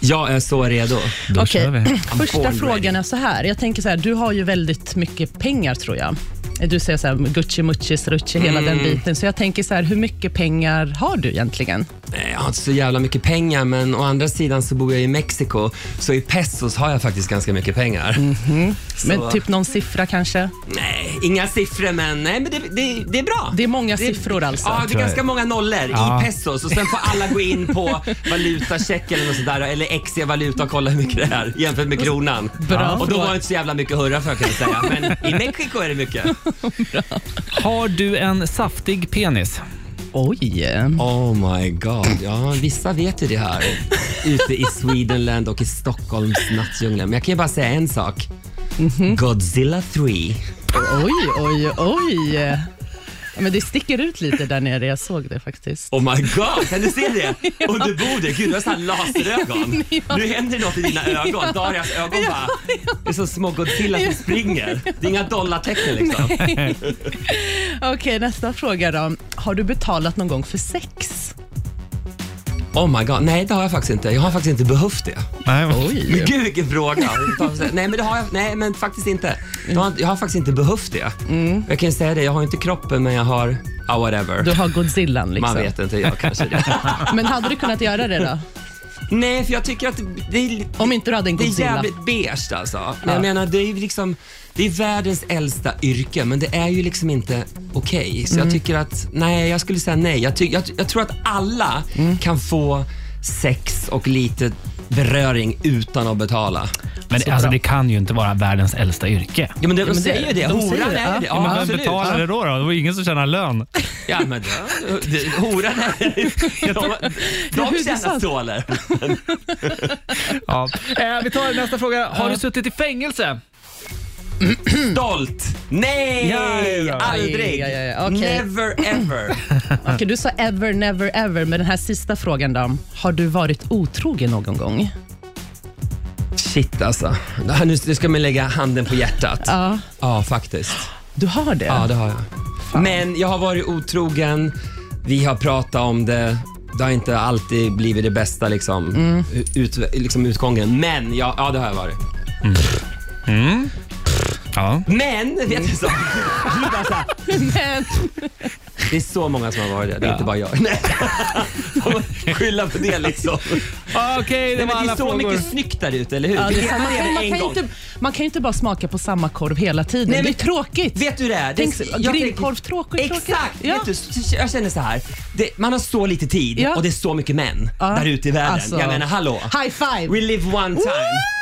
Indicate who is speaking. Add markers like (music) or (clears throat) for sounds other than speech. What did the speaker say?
Speaker 1: Jag är så redo.
Speaker 2: Då
Speaker 3: Okej, (clears throat)
Speaker 2: kör vi.
Speaker 1: I'm
Speaker 3: första
Speaker 1: all
Speaker 3: frågan
Speaker 1: ready.
Speaker 3: är så här. Jag tänker så här, du har ju väldigt mycket pengar tror jag. Du säger så här, Gucci, Mucci, Strucci, hela
Speaker 1: Mm.
Speaker 3: den biten. Så jag tänker så här, hur mycket pengar har du egentligen?
Speaker 1: Nej, Jag har inte så jävla mycket pengar, men å andra sidan så bor jag i Mexiko, så i pesos har jag faktiskt ganska mycket pengar.
Speaker 3: Men
Speaker 1: Så-
Speaker 3: typ någon siffra kanske?
Speaker 1: Nej, inga siffror, men, nej, men det, det, det är bra.
Speaker 3: Det är många siffror alltså.
Speaker 1: Ja, det är
Speaker 2: jag.
Speaker 1: ganska många nollor
Speaker 2: Ja.
Speaker 1: i pesos och sen får alla gå in
Speaker 3: (laughs)
Speaker 1: på valutacheck eller något sådär eller XE valuta och kolla hur mycket det är jämfört med kronan.
Speaker 3: Bra
Speaker 1: och då
Speaker 3: fråga.
Speaker 1: var det inte så jävla mycket hurra för kan jag säga, men i Mexiko är det mycket.
Speaker 2: Har du en saftig penis?
Speaker 3: Oj.
Speaker 1: Oh my god, ja vissa vet ju det här. Ute i Swedenland och i Stockholms nattdjungel. Men jag kan ju bara säga en sak. Godzilla 3.
Speaker 3: Oj, oj, oj. Ja, Men det sticker ut lite där nere. Jag såg det faktiskt.
Speaker 1: Oh my god, kan du se det? Och du bor där, gud du har såhär laserögon. Nu händer det något i dina ögon. Darias ögon bara, det är som små Godzilla som springer. Det är inga dollartecken liksom.
Speaker 3: Okej, nästa fråga då. Har du betalat någon gång för sex?
Speaker 1: Oh my god, nej det har jag faktiskt inte. Jag har faktiskt inte behövt det.
Speaker 2: Nej.
Speaker 1: Men gud vilken fråga. Nej men det har jag nej, men faktiskt inte. Jag har, jag har faktiskt inte behövt det. Jag kan ju säga det, jag har inte kroppen men jag har, ah whatever.
Speaker 3: Mm. Du har Godzillan liksom.
Speaker 1: Man vet inte, jag kanske
Speaker 3: (laughs)
Speaker 1: det.
Speaker 3: Men hade du kunnat göra det då?
Speaker 1: Nej, för jag tycker att det- det är lite-
Speaker 3: Om inte du hade en
Speaker 1: Det är
Speaker 3: Godzilla.
Speaker 1: jävligt beige alltså. Men
Speaker 3: Ja.
Speaker 1: jag menar, det är ju liksom, det är världens äldsta yrke, men det är ju liksom inte okej. Så
Speaker 3: Mm.
Speaker 1: jag tycker att, nej, jag skulle säga nej. Jag, ty- jag, jag tror att alla
Speaker 3: Mm.
Speaker 1: kan få sex och lite beröring utan att betala.
Speaker 2: Men
Speaker 3: Så
Speaker 2: alltså,
Speaker 3: bra.
Speaker 2: det kan ju inte vara världens äldsta yrke.
Speaker 1: Ja, men de,
Speaker 3: men det-
Speaker 1: säger ju det.
Speaker 3: de
Speaker 1: horan
Speaker 3: säger det,
Speaker 1: är
Speaker 3: ja.
Speaker 1: ju det.
Speaker 2: men
Speaker 1: Ja,
Speaker 2: vem
Speaker 1: absolut.
Speaker 2: betalar det då, då? Det var ingen som tjänar lön.
Speaker 1: Ja, men det, det, horan är... (laughs) De,
Speaker 3: hur är
Speaker 1: de
Speaker 3: det
Speaker 1: tjänar
Speaker 3: sant?
Speaker 1: stålar.
Speaker 2: Ja. Eh, vi tar nästa fråga. Har du suttit i fängelse?
Speaker 1: Stolt! Nej!
Speaker 2: Ja, ja, ja.
Speaker 1: Aldrig!
Speaker 3: Ja, ja, ja. Okej.
Speaker 1: Never ever.
Speaker 3: Okej, du sa ever, never, ever, men den här sista frågan då. Har du varit otrogen någon gång?
Speaker 1: Shit alltså. Det här- Nu nu ska man lägga handen på hjärtat.
Speaker 3: Ja.
Speaker 1: Ja, faktiskt.
Speaker 3: Du har det?
Speaker 1: Ja, det har jag. Men jag har varit otrogen, vi har pratat om det. Det har inte alltid blivit det bästa liksom, ut, liksom utgången. Men, ja, ja det har jag varit.
Speaker 2: Ja.
Speaker 1: Men, vet du (laughs) så?
Speaker 3: (laughs) Men,
Speaker 1: Det är så många som har varit det. Det är inte bara
Speaker 3: (laughs)
Speaker 1: jag. Nej. Skylla på det liksom.
Speaker 2: Okej,
Speaker 1: Det,
Speaker 2: det var
Speaker 1: men det
Speaker 2: alla
Speaker 1: är så
Speaker 2: frågor.
Speaker 1: mycket snyggt där ute, eller hur?
Speaker 3: ja, det är
Speaker 1: kan
Speaker 3: samma,
Speaker 1: man göra
Speaker 3: man,
Speaker 1: en
Speaker 3: kan ju
Speaker 1: gång.
Speaker 3: inte, man kan ju inte bara smaka på samma korv hela tiden.
Speaker 1: Nej,
Speaker 3: det är
Speaker 1: men-
Speaker 3: tråkigt.
Speaker 1: Vet du det? är?
Speaker 3: Tänk,
Speaker 1: det jag
Speaker 3: grillkorv,
Speaker 1: tänker-
Speaker 3: tråkigt. tråkigt.
Speaker 1: Exakt!
Speaker 3: Ja.
Speaker 1: Vet du, s- jag känner så här. Det, man har så lite tid
Speaker 3: Ja.
Speaker 1: och det är så mycket män
Speaker 3: Ja.
Speaker 1: där ute i världen.
Speaker 3: Alltså.
Speaker 1: Jag menar hallå.
Speaker 3: High five!
Speaker 1: We live one time.